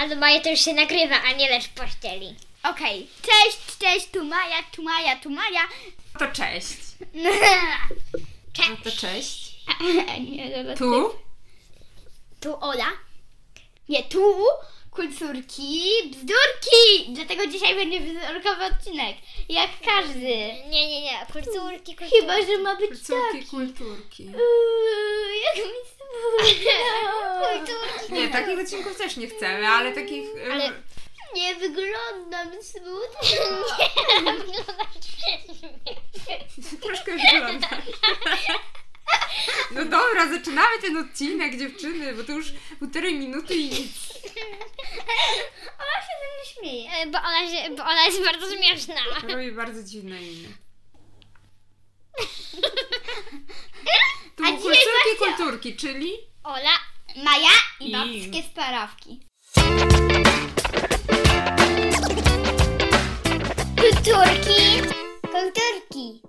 Ale Maja to już się nagrywa, a nie leż w pościeli. Okej, cześć, cześć, tu Maja, tu Maja, tu Maja. To cześć. No to Cześć. cześć. Nie, no, Tu? Tu Ola. Nie, tu kulturki, bzdurki. Dlatego dzisiaj będzie bzdurkowy odcinek. Jak każdy. Nie, nie, nie, kulturki, kulturki. Chyba, że ma być tak. Kulturki, kulturki. Uuu, jak mi smutno. Kulturki. Tak. Nie, takich odcinków też nie chcemy, ale takich... em, Ale- Nie wyglądam smutno. Troszkę wyglądasz. No dobra, zaczynamy ten odcinek, dziewczyny, bo to już półtorej minuty i nic. Ola się ze mnie śmieje. E, Bo ona, się, bo ona jest bardzo śmieszna. Robi bardzo dziwne imię. Tu A dzisiaj kulturki, właśnie- kulturki, czyli... Ola, Maja i I- babskie sparawki. kulturki, kulturki.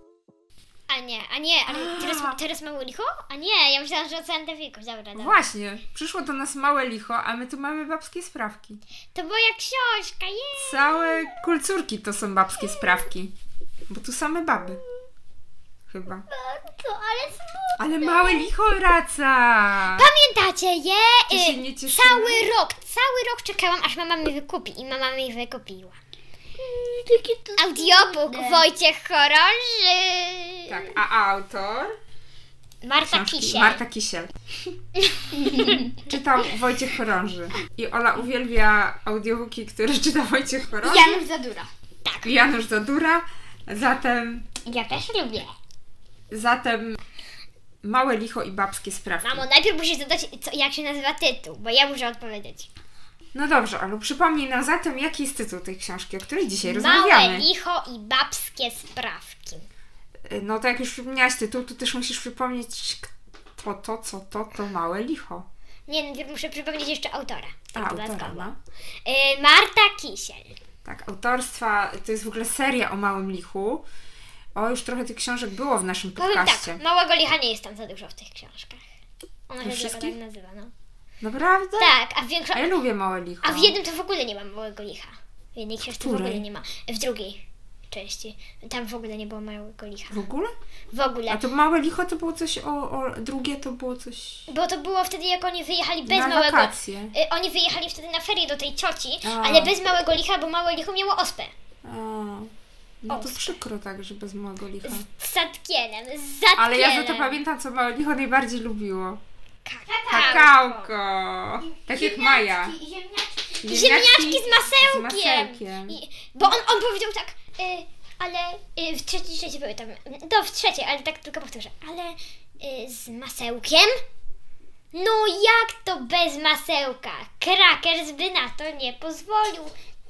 A nie, a nie, ale teraz, A. teraz mamy licho? A nie, ja myślałam, że ocean Tefików. Dobra, dobra. Właśnie, przyszło do nas małe licho, a my tu mamy babskie sprawki. To moja książka, jest. Całe kulturki to są babskie sprawki. Bo tu same baby. Chyba. To, ale smutno. Ale małe licho wraca! Pamiętacie je? Ty się Y, nie cieszymy? cały rok, cały rok czekałam, aż mama mi wykupi i mama mi wykupiła. Takie to Audiobook smutne. Wojciech Chorąży. Tak, a autor? Marta Książki. Kisiel. Marta Kisiel. Czytał Wojciech Chorąży. I Ola uwielbia audiobooki, które czyta Wojciech Chorąży Janusz Zadura. i Janusz Zadura. Zatem, Ja też lubię. zatem małe licho i babskie sprawki. Mamo, najpierw musisz dodać, co, jak się nazywa tytuł, bo ja muszę odpowiedzieć. No dobrze, Olu, przypomnij nam zatem, jaki jest tytuł tej książki, o której dzisiaj Małe rozmawiamy. licho i babskie sprawki. No to jak już przypomniałaś tytuł, to też musisz przypomnieć kto to, co to, to małe licho. Nie, najpierw muszę przypomnieć jeszcze autora. A, Tak, autora, dodatkowo. no. Y, Marta Kisiel. Tak, autorstwa, to jest w ogóle seria o małym lichu. O, już trochę tych książek było w naszym Powiem podcaście. tak, małego licha nie jest tam za dużo w tych książkach. Ona się tylko tak wszystkich? nazywa, no. Naprawdę? Tak, a w większo... A ja lubię małe licho. A w jednym to w ogóle nie ma małego licha. W jednej książce w no. której? ogóle nie ma. W drugiej części. Tam w ogóle nie było małego licha. W ogóle? W ogóle. A to małe licho to było coś o, o drugie to było coś Bo to było wtedy, jak oni wyjechali bez na małego... wakacje. Y, Oni wyjechali wtedy na ferie do tej cioci, A. ale bez małego licha, bo małe licho miało ospę. A, no to Ostry. przykro tak, że bez małego licha. Z sadkielem, z zadkielem. Ale ja za to pamiętam, co małe licho najbardziej lubiło. Kakao. Kakałko! Tak jak Maja. I Tak, ziemniaczki. Ziemniaczki z masełkiem. z masełkiem. I, bo on, on powiedział tak, y, ale y, w trzeciej części były tam, no w trzeciej, ale tak tylko powtórzę, ale y, z masełkiem? No jak to bez masełka? Krakers by na to nie pozwolił,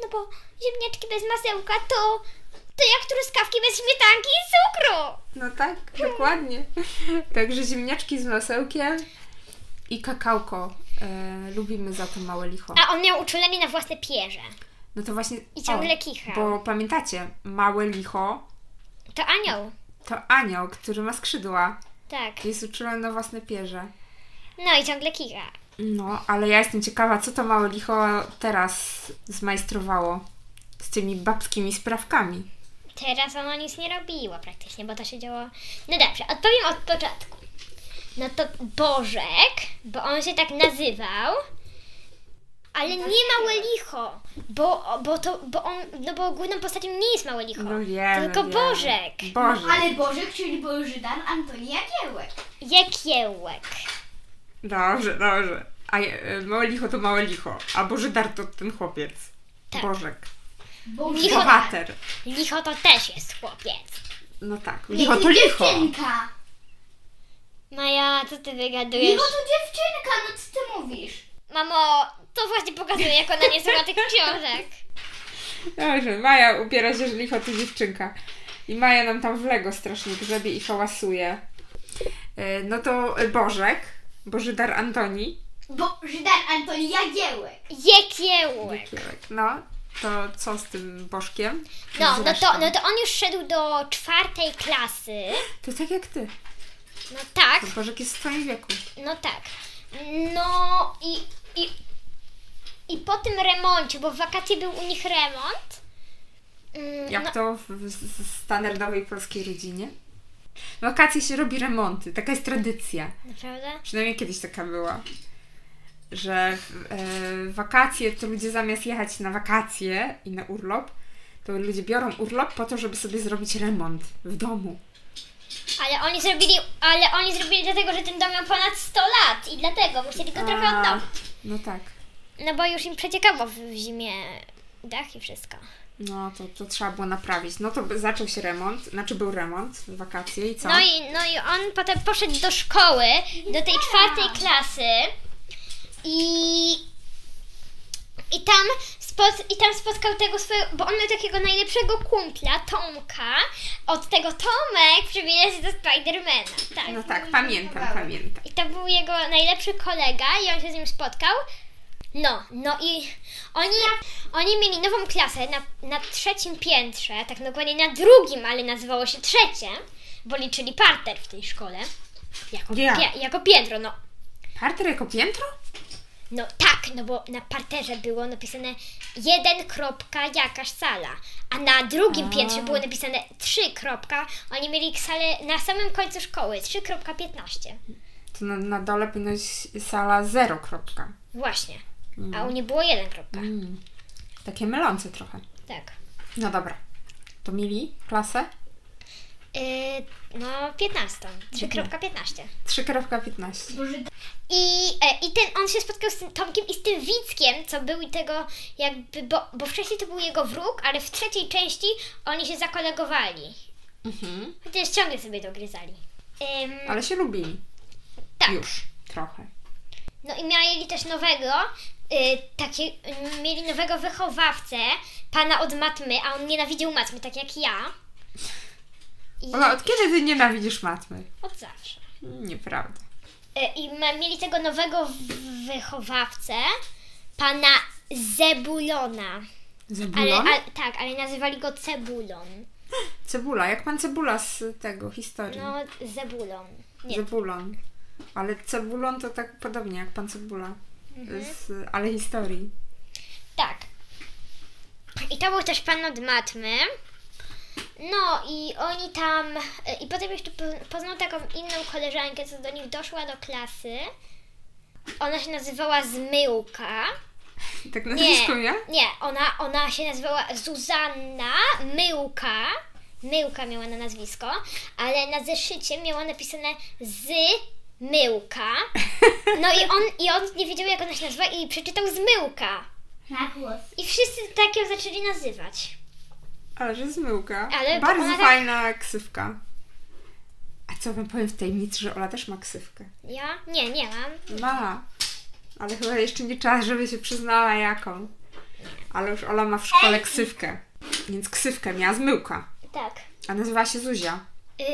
no bo ziemniaczki bez masełka to, to jak truskawki bez śmietanki i cukru. No tak, dokładnie. Także ziemniaczki z masełkiem i kakałko. E, lubimy za to małe licho. A on miał uczulenie na własne pierze No to właśnie. i ciągle kicha. Bo pamiętacie, małe licho To anioł, to anioł, który ma skrzydła. tak. Jest uczulony na własne pierze. No i ciągle kicha. No, ale ja jestem ciekawa, co to małe licho teraz zmajstrowało z tymi babskimi sprawkami. Teraz ono nic nie robiło praktycznie, bo to się działo. No dobrze, odpowiem od początku. No to Bożek, bo on się tak nazywał, ale nie małe licho, bo, bo, to, bo on, no bo główną postacią nie jest małe licho, No wiemy, tylko wiemy. Bożek, Boże. Ale Bożek, czyli był Żydan Antoni Jagiełek. Jekiełek. Dobrze, dobrze. A e, małe licho to małe licho. A Bożydar to ten chłopiec. Tak. Bożek. Bożek. Licho- Bohater. Licho to też jest chłopiec. No tak, Nie, licho to licho. Dziewczynka. Maja, No co ty wygadujesz? Licho to dziewczynka, no co ty mówisz? Mamo, to właśnie pokazuje, jak ona nie słucha tych książek. Dobrze, Maja upiera się, że licho to dziewczynka. I Maja nam tam w Lego strasznie grzebie i hałasuje. E, No to e, Bożek, Bożydar Antoni. Bo Żydan Antoni Jagiełek. Jekiełek. No, to co z tym Bożkiem? No, no Zresztą. to, no to on już szedł do czwartej klasy. To tak jak ty. No tak, To Bożek jest w twoim wieku. no tak. No i, i, I po tym remoncie, bo w wakacje był u nich remont. mm, Jak to w, w w standardowej polskiej rodzinie? W wakacje się robi remonty, taka jest tradycja. Naprawdę? Przynajmniej kiedyś taka była. Że w- e, w wakacje to ludzie zamiast jechać na wakacje i na urlop, to ludzie biorą urlop po to, żeby sobie zrobić remont w domu. Ale oni zrobili, ale oni zrobili dlatego, że ten dom miał ponad 100 lat i dlatego musieli go trochę A, odnowić. No tak. No bo już im przeciekało w, w zimie dach i wszystko. No to, to trzeba było naprawić. No to zaczął się remont, znaczy był remont, w wakacje i co? No i, no i on potem poszedł do szkoły, do tej czwartej klasy i, i, tam spot, i tam spotkał tego swojego, bo on miał takiego najlepszego kumpla, Tomka. Od tego Tomek przywija się do Spidermana. Tak. No tak, pamiętam, pamiętam. I to był jego najlepszy kolega i on się z nim spotkał. No, no i oni, oni mieli nową klasę na, na trzecim piętrze, tak dokładnie na drugim, ale nazywało się trzecie, bo liczyli parter w tej szkole. Jako, Ja. pie, jako piętro, no. Parter jako piętro? No tak, no bo na parterze było napisane 1. kropka jakaś sala, a na drugim A. piętrze było napisane 3. kropka. Oni mieli salę na samym końcu szkoły, 3.15. To na, na dole powinna być sala 0. Kropka. Właśnie. A u niej było 1. kropka. Mm. Takie mylące trochę. Tak. No dobra. To mieli klasę? Y, no, 15. 3.15. 3.15. I, e, I ten on się spotkał z tym Tomkiem i z tym Wickiem, co był i tego jakby, bo, bo wcześniej to był jego wróg, ale w trzeciej części oni się zakolegowali. Mhm. Chociaż ciągle sobie dogryzali. Ym, Ale się lubili. Tak. Już. Trochę. no i mieli też nowego, y, takie, y, mieli nowego wychowawcę, pana od matmy, a on nienawidził matmy, tak jak ja. I Ola, od kiedy ty nienawidzisz matmy? od zawsze. Nieprawda. E, I ma- mieli tego nowego w- wychowawcę, pana Zebulona. Ale, Zabulon? ale, tak, ale nazywali go Cebulon. Cebula. Jak pan Cebula z tego historii? No, Zebulon. Nie. Zebulon. Ale Cebulon to tak podobnie jak pan Cebula. Mhm. Z, ale historii. Tak. I to był też pan od matmy. No i oni tam... e, I potem jeszcze po- poznał taką inną koleżankę, co do nich doszła do klasy. Ona się nazywała Zmyłka. Tak nazwisko ja? Nie, ona, ona się nazywała Zuzanna Myłka. Myłka miała na nazwisko, ale na zeszycie miała napisane z Myłka. No i on, i on nie wiedział, jak ona się nazywa i przeczytał z Myłka. Na głos. I wszyscy tak ją zaczęli nazywać. Ale że zmyłka. Ale Bardzo ona tak- fajna ksywka. A co wam powiem w tajemnicy, że Ola też ma ksywkę. Ja? Nie, nie mam. Ma. Ale chyba jeszcze nie czas, żeby się przyznała jaką. Ale już Ola ma w szkole ksywkę. Więc ksywkę miała zmyłka. Tak. A nazywała się Zuzia.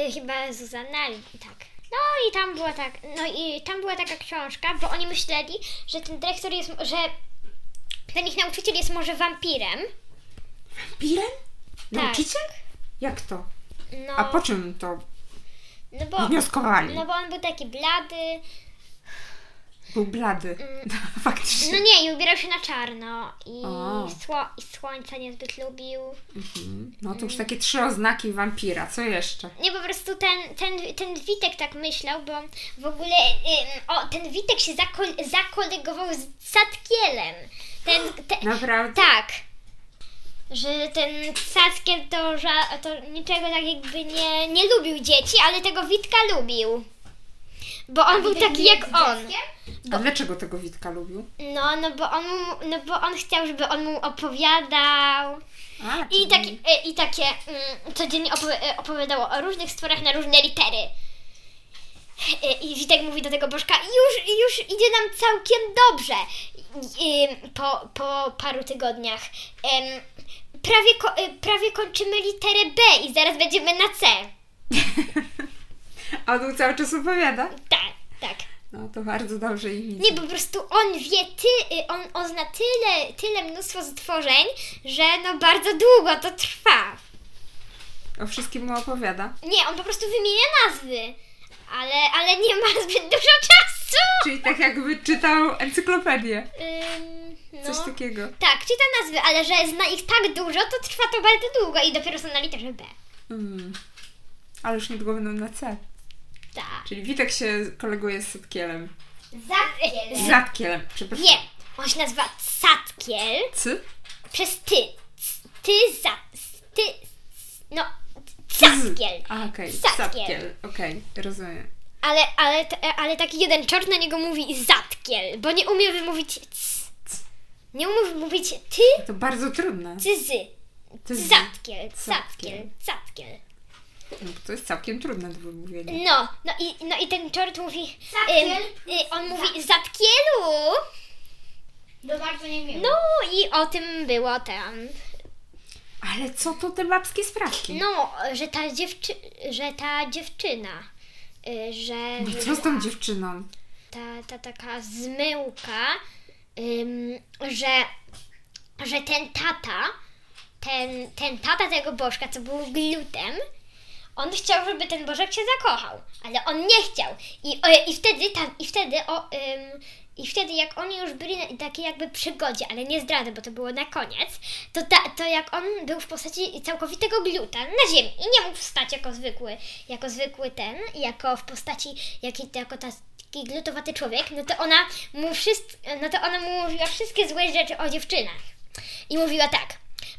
Y, chyba Zuzanna, ale tak. No i tam była tak, no i tam była taka książka, bo oni myśleli, że ten dyrektor jest, że ten ich nauczyciel jest może wampirem. Pirem? Tak. Nauczyciel? Jak to? No, A po czym to no bo, wnioskowali? no bo on był taki blady. Był blady. No, Faktycznie. Mm. No nie, i ubierał się na czarno. I, O. sło, i słońca niezbyt lubił. Mhm. No to już takie trzy oznaki wampira. Co jeszcze? Nie, po prostu ten, ten, ten Witek tak myślał, bo w ogóle ym, o, ten Witek się zakol, zakolegował z Sadkielem. Ten, te, Naprawdę? Tak. Że ten Sackiel to, ża- to niczego tak jakby nie, nie lubił dzieci, ale tego Witka lubił. Bo on tak był taki jak on. Tak. A dlaczego tego Witka lubił? No, no bo on, mu- no bo on chciał, żeby on mu opowiadał. A, I, czyli- tak, e, i takie mm, codziennie opowi- e, opowiadał o różnych stworach na różne litery. E, I Witek mówi do tego Bożka, już, już idzie nam całkiem dobrze. I, ym, po, po paru tygodniach. Em, prawie, ko- e, prawie kończymy literę B i zaraz będziemy na C. A on cały czas opowiada? Tak, tak. No to bardzo dobrze i nic. Nie, bo po prostu on wie, ty, y, on, on zna tyle, tyle mnóstwo stworzeń, że no bardzo długo to trwa. O wszystkim mu opowiada. Nie, on po prostu wymienia nazwy, ale, ale nie ma zbyt dużo czasu. Czyli tak jakby czytał encyklopedię. Ym, No. Coś takiego. Tak, czytam nazwy, ale że zna ich tak dużo, to trwa to bardzo długo i dopiero są na literze B. Mm. Ale już niedługo będą na C. Tak. Czyli Witek się koleguje z Sadkielem. Zatkiel. Z Radkielem, przepraszam. Y, Nie, on się nazywa Satkiel C? przez ty. C- Ty za... s- Ty... s- No, Satkiel. A, okej. Sadkiel. Sadkiel. Okej, rozumiem. Ale, ale, t- ale taki jeden czort na niego mówi Zatkiel, bo nie umie wymówić c. C. Nie umie mówić ty, To bardzo trudne. czy zy. To jest, Zatkiel, zatkiel, Zatkiel. zatkiel. no, bo to jest całkiem trudne do wymówienia. No, no i, no i ten czort mówi... Zatkiel ym, y, on mówi Zatkielu! No bardzo nie wiem. No i o tym było tam. Ale co to te babskie sprawki? No, że ta, dziewczy- że ta dziewczyna, y, że No co z tą dziewczyną? ta, ta taka zmyłka, ym, że, że ten tata, ten, ten tata tego bożka, co był glutem, on chciał, żeby ten bożek się zakochał, ale on nie chciał. I, o, i wtedy, tam, i wtedy, o, ym, i wtedy jak oni już byli na takiej jakby przygodzie, ale nie zdrady, bo to było na koniec, to, ta, to jak on był w postaci całkowitego gluta na ziemi i nie mógł wstać jako zwykły, jako zwykły ten, jako w postaci, jak, jako ta, taki glutowaty człowiek, no to ona mu wszystko, no to ona mu mówiła wszystkie złe rzeczy o dziewczynach. I mówiła tak,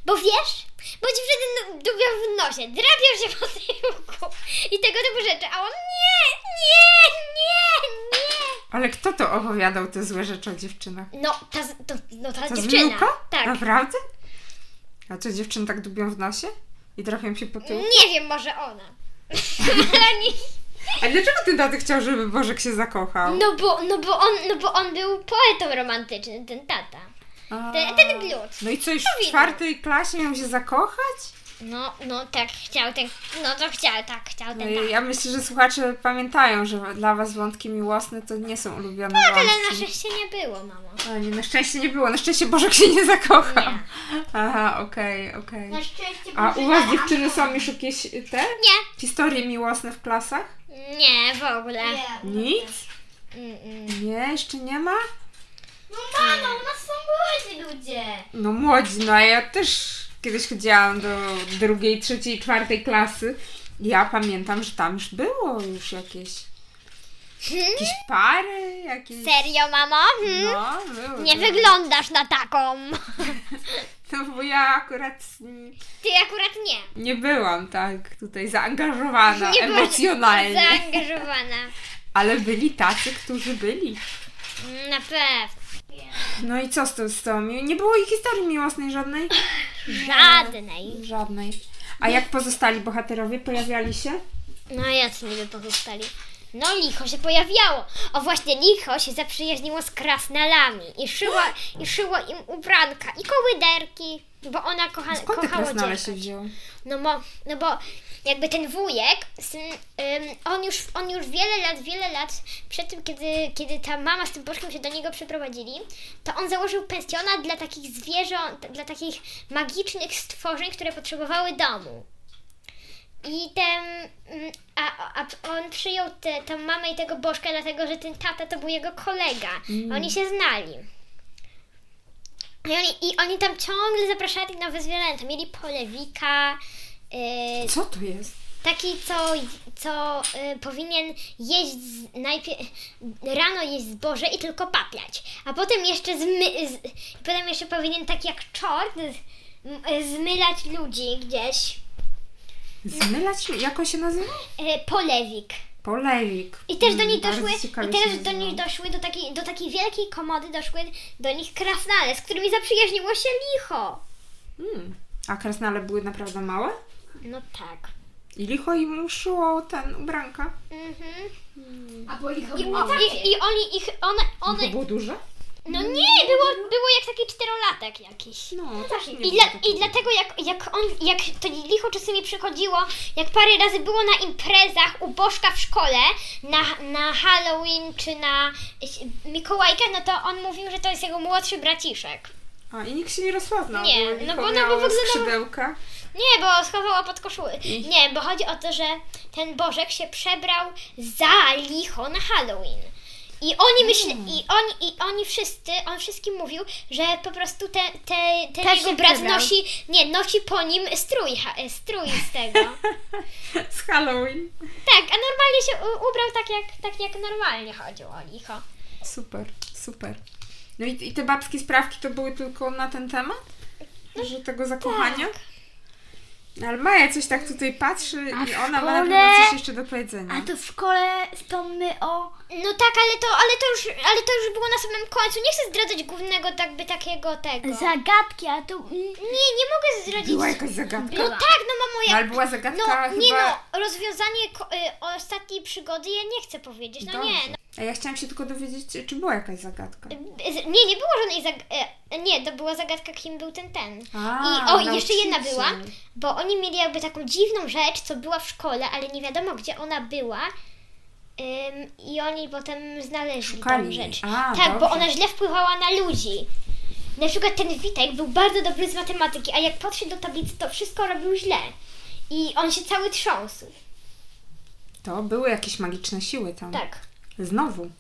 bo wiesz, bo dziewczyny dubią w nosie, drapią się po tyłku i tego typu rzeczy, a on nie, nie, nie, nie. Ale kto to opowiadał te złe rzeczy o dziewczynach? No, ta, z- to, no, ta Ta dziewczyna. zmyłka? Tak. Naprawdę? A co dziewczyny tak dubią w nosie? I trafią się po tył? Nie wiem, może ona. Ale nie, A dlaczego ten taty chciał, żeby Bożek się zakochał? no, bo, no, bo on, no bo on był poetą romantycznym, ten tata. A. Ten, ten glut. No i co, już widać. w czwartej klasie miał się zakochać? No, no tak chciał ten, no to chciał, tak chciał ten No tata. i ja myślę, że słuchacze pamiętają, że dla was wątki miłosne to nie są ulubione Tak, ale na wątki. szczęście nie było, mamo. A nie, na szczęście nie było. Na szczęście Bożek się nie zakochał. Nie. Aha, okej, okej. Na szczęście tak, A u Boże, was na- dziewczyny są już jakieś te Nie, historie miłosne w klasach? nie, w ogóle. Nie. Nic? Mm, mm. Nie, jeszcze nie ma? No mamo, u nas są młodzi ludzie. No młodzi, no a ja też kiedyś chodziłam do drugiej, trzeciej, czwartej klasy. Ja pamiętam, że tam już było już jakieś, Hmm? jakieś pary, jakieś... Serio, mamo? Hmm? No, było. Nie było. wyglądasz na taką. No bo ja akurat mm, Ty akurat nie. nie byłam tak tutaj zaangażowana Nie byłaś emocjonalnie, Zaangażowana. ale byli tacy, którzy byli. Mm, Na pewno. No i co z tą, z tą? Nie było ich historii miłosnej żadnej? Żadnej. Żadnej. A jak pozostali bohaterowie pojawiali się? No jacy niby pozostali. No licho się pojawiało. O właśnie licho się zaprzyjaźniło z krasnalami i szyło, i szyło im ubranka i kołyderki, bo ona kocha, Skąd te kochała krasnale dziewczyn. się wzięły? No, mo, no bo jakby ten wujek, syn, ym, on, już, on już wiele lat, wiele lat przed tym, kiedy, kiedy ta mama z tym bożkiem się do niego przeprowadzili, to on założył pensjonat dla takich zwierząt, dla takich magicznych stworzeń, które potrzebowały domu. I ten, mm, a, a a on przyjął tę tę mamę i tego bożka, dlatego że ten tata to był jego kolega. Oni się znali. I oni, I oni tam ciągle zapraszali nowe zwierzęta. Mieli polewika, yy, Co to jest? taki, co, co y, powinien jeść z, najpierw, rano jeść zboże i tylko papiać, a potem jeszcze zmy, z, potem jeszcze powinien tak jak czort z, m, y, zmylać ludzi gdzieś. Zmylać? Jak on się nazywa? Y, polewik. Polewik. I też do Mm, nich bardzo doszły, ciekawie i się też do nazywa. nich doszły do takiej, do takiej wielkiej komody doszły do nich krasnale, z którymi zaprzyjaźniło się licho. Mm. A krasnale były naprawdę małe? No tak. I licho im uszyło ten ubranka. Mhm. A bo ich I, o, i, I oni ich, one, one, To było duże? no nie, było, było jak taki czterolatek jakiś. No, też nie tak, I, było dla, takiego. I dlatego jak, jak on, jak to licho czasami przychodziło, jak parę razy było na imprezach u Bożka w szkole, na, na Halloween czy na y, Mikołajkę, no to on mówił, że to jest jego młodszy braciszek. A i nikt się nie rozpoznał. Nie, bo no licho bo ona miało w ogóle- skrzydełka. Nie, bo schowało pod koszulę. Nie, bo chodzi o to, że ten Bożek się przebrał za licho na Halloween. I oni myśli, Hmm. i oni, i oni wszyscy, on wszystkim mówił, że po prostu te, te, ten Też jego się brat przebrał. nosi, nie, nosi po nim strój, ha- e, strój z tego. Z Halloween. tak, a normalnie się u- ubrał tak jak, tak jak normalnie chodził o nich. o. Super, super. No i, i te babskie sprawki to były tylko na ten temat? No, Że tego tak. zakochania? No Ale Maja coś tak tutaj patrzy A i w ona ma na pewno szkole? coś jeszcze do powiedzenia. A to w szkole wspomnę o... No tak, ale to, ale to już, ale to już było na samym końcu. Nie chcę zdradzać głównego tak by takiego tego. Zagadki, a to... mm, Nie, nie mogę zdradzić. Była jakaś zagadka. No tak, no mamo, No, jak ale była zagadka No, chyba... nie no, rozwiązanie ko- y, ostatniej przygody ja nie chcę powiedzieć, no Dobrze. nie. A ja chciałam się tylko dowiedzieć, czy- czy była jakaś zagadka. No, Z- nie, nie było żadnej zag- y, Nie, to była zagadka, kim był ten ten. A, I o, i jeszcze jedna nauczyciel. była, bo oni mieli jakby taką dziwną rzecz, co była w szkole, ale nie wiadomo, gdzie ona była. Ym, I oni potem znaleźli Szukali tą jej. rzecz. A, tak, bo dobrze. ona źle wpływała na ludzi. Na przykład ten Witek był bardzo dobry z matematyki, a jak podszedł do tablicy, to wszystko robił źle. I on się cały trząsł. To były jakieś magiczne siły tam. Tak. Mhm. Znowu.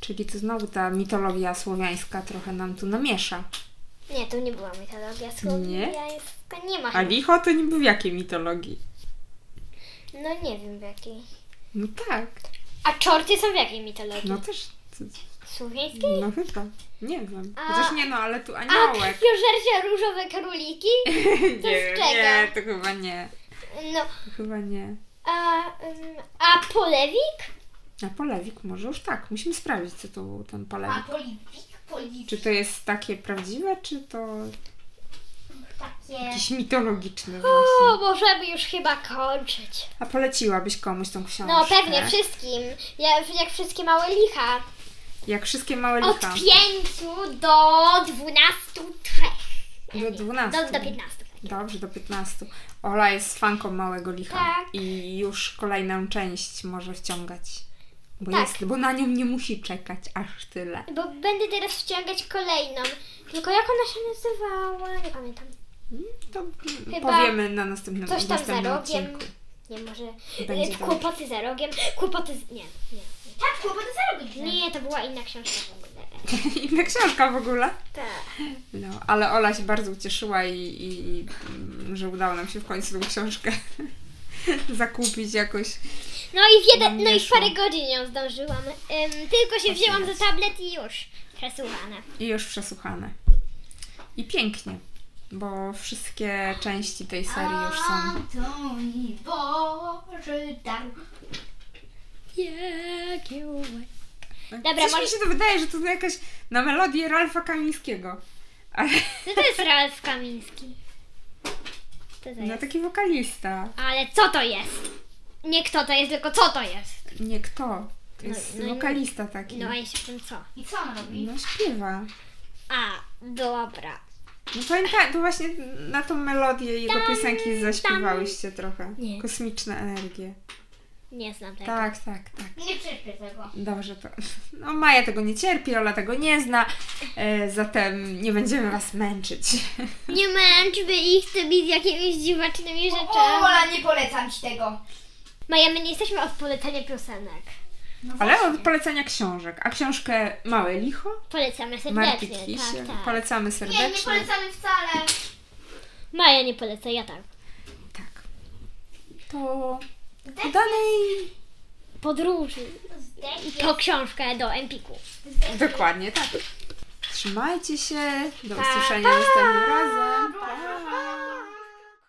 Czyli to znowu ta mitologia słowiańska trochę nam tu namiesza. Nie, to nie była mitologia słowiańska. Nie, nie ma. A licho to niby w jakiej mitologii? No nie wiem w jakiej. No tak. A czorty są w jakiej mitologii? No też. Słowiańskiej? No chyba. Nie wiem. A- Chociaż nie no, ale tu A aniołek. krwiożercie różowe króliki? to nie, z czego? nie, to chyba nie. No, Chyba nie. a, ym, a polewik? A polewik może już tak. Musimy sprawdzić, co to był ten polewik. polewik? Polewik. Czy to jest takie prawdziwe, czy to Tak. Takie... jakieś mitologiczne O, No właśnie? możemy już chyba kończyć. A poleciłabyś komuś tą książkę? No pewnie wszystkim. Ja, jak wszystkie małe licha. Jak wszystkie małe Od licha. pięciu do dwunastu trzech. Do Do, 12. do piętnastu. Dobrze, do 15. Ola jest fanką małego licha Tak. i już kolejną część może wciągać. Bo, Tak. jest, bo na nią nie musi czekać aż tyle. Bo będę teraz wciągać kolejną. Tylko jak ona się nazywała? Nie pamiętam. To mm, Chyba powiemy na następnym, Coś tam za następnym rogiem. odcinku. Nie, może. Będzie y, dobrze. kłopoty za rogiem. Kłopoty z. Nie, nie. Tak, kłopoty za No. rogiem. Nie, to była inna książka w ogóle. Inna książka w ogóle. Tak. No, ale Ola się bardzo ucieszyła i, i, i mm, że udało nam się w końcu tą książkę zakupić jakoś. No i w jeden, Nam no i w wyszło. parę godzin ją zdążyłam. Ym, tylko się wzięłam za tablet i już. Przesuwana. I już przesłuchane. I pięknie, bo wszystkie części tej serii już są. Antoni Boży dar. Jakie ładne. Dobra, Coś mi może- się to wydaje, że to jakaś na melodię Ralfa Kamińskiego. No Ale, Co to jest Ralf Kamiński? Co to no jest? taki wokalista. Ale co to jest? Nie kto to jest, tylko co to jest? Nie kto. To jest no nie- wokalista taki. No a jeśli w tym co? I co on robi? No śpiewa. A, dobra. No pamiętaj, to właśnie na tą melodię jego piosenki zaśpiewałyście trochę. Nie. Kosmiczne energie. Nie znam tego. Tak, tak, tak. Nie cierpię tego. Dobrze to. No Maja tego nie cierpi, Ola tego nie zna, e, zatem nie będziemy was męczyć. Nie męczmy ich tymi z jakimiś dziwacznymi O, rzeczami. Ola, nie polecam ci tego. Maja, my nie jesteśmy od polecania piosenek. No Ale właśnie. od polecenia książek. A książkę Małe Licho Polecamy Marty serdecznie. Kisie. Tak, tak. Polecamy Nie, nie serdecznie. polecamy wcale. Maja nie poleca, ja tak. Tak. To udanej. Podróży. To książkę do Empiku. Dokładnie tak. Trzymajcie się. Do Pa, usłyszenia następnym razem.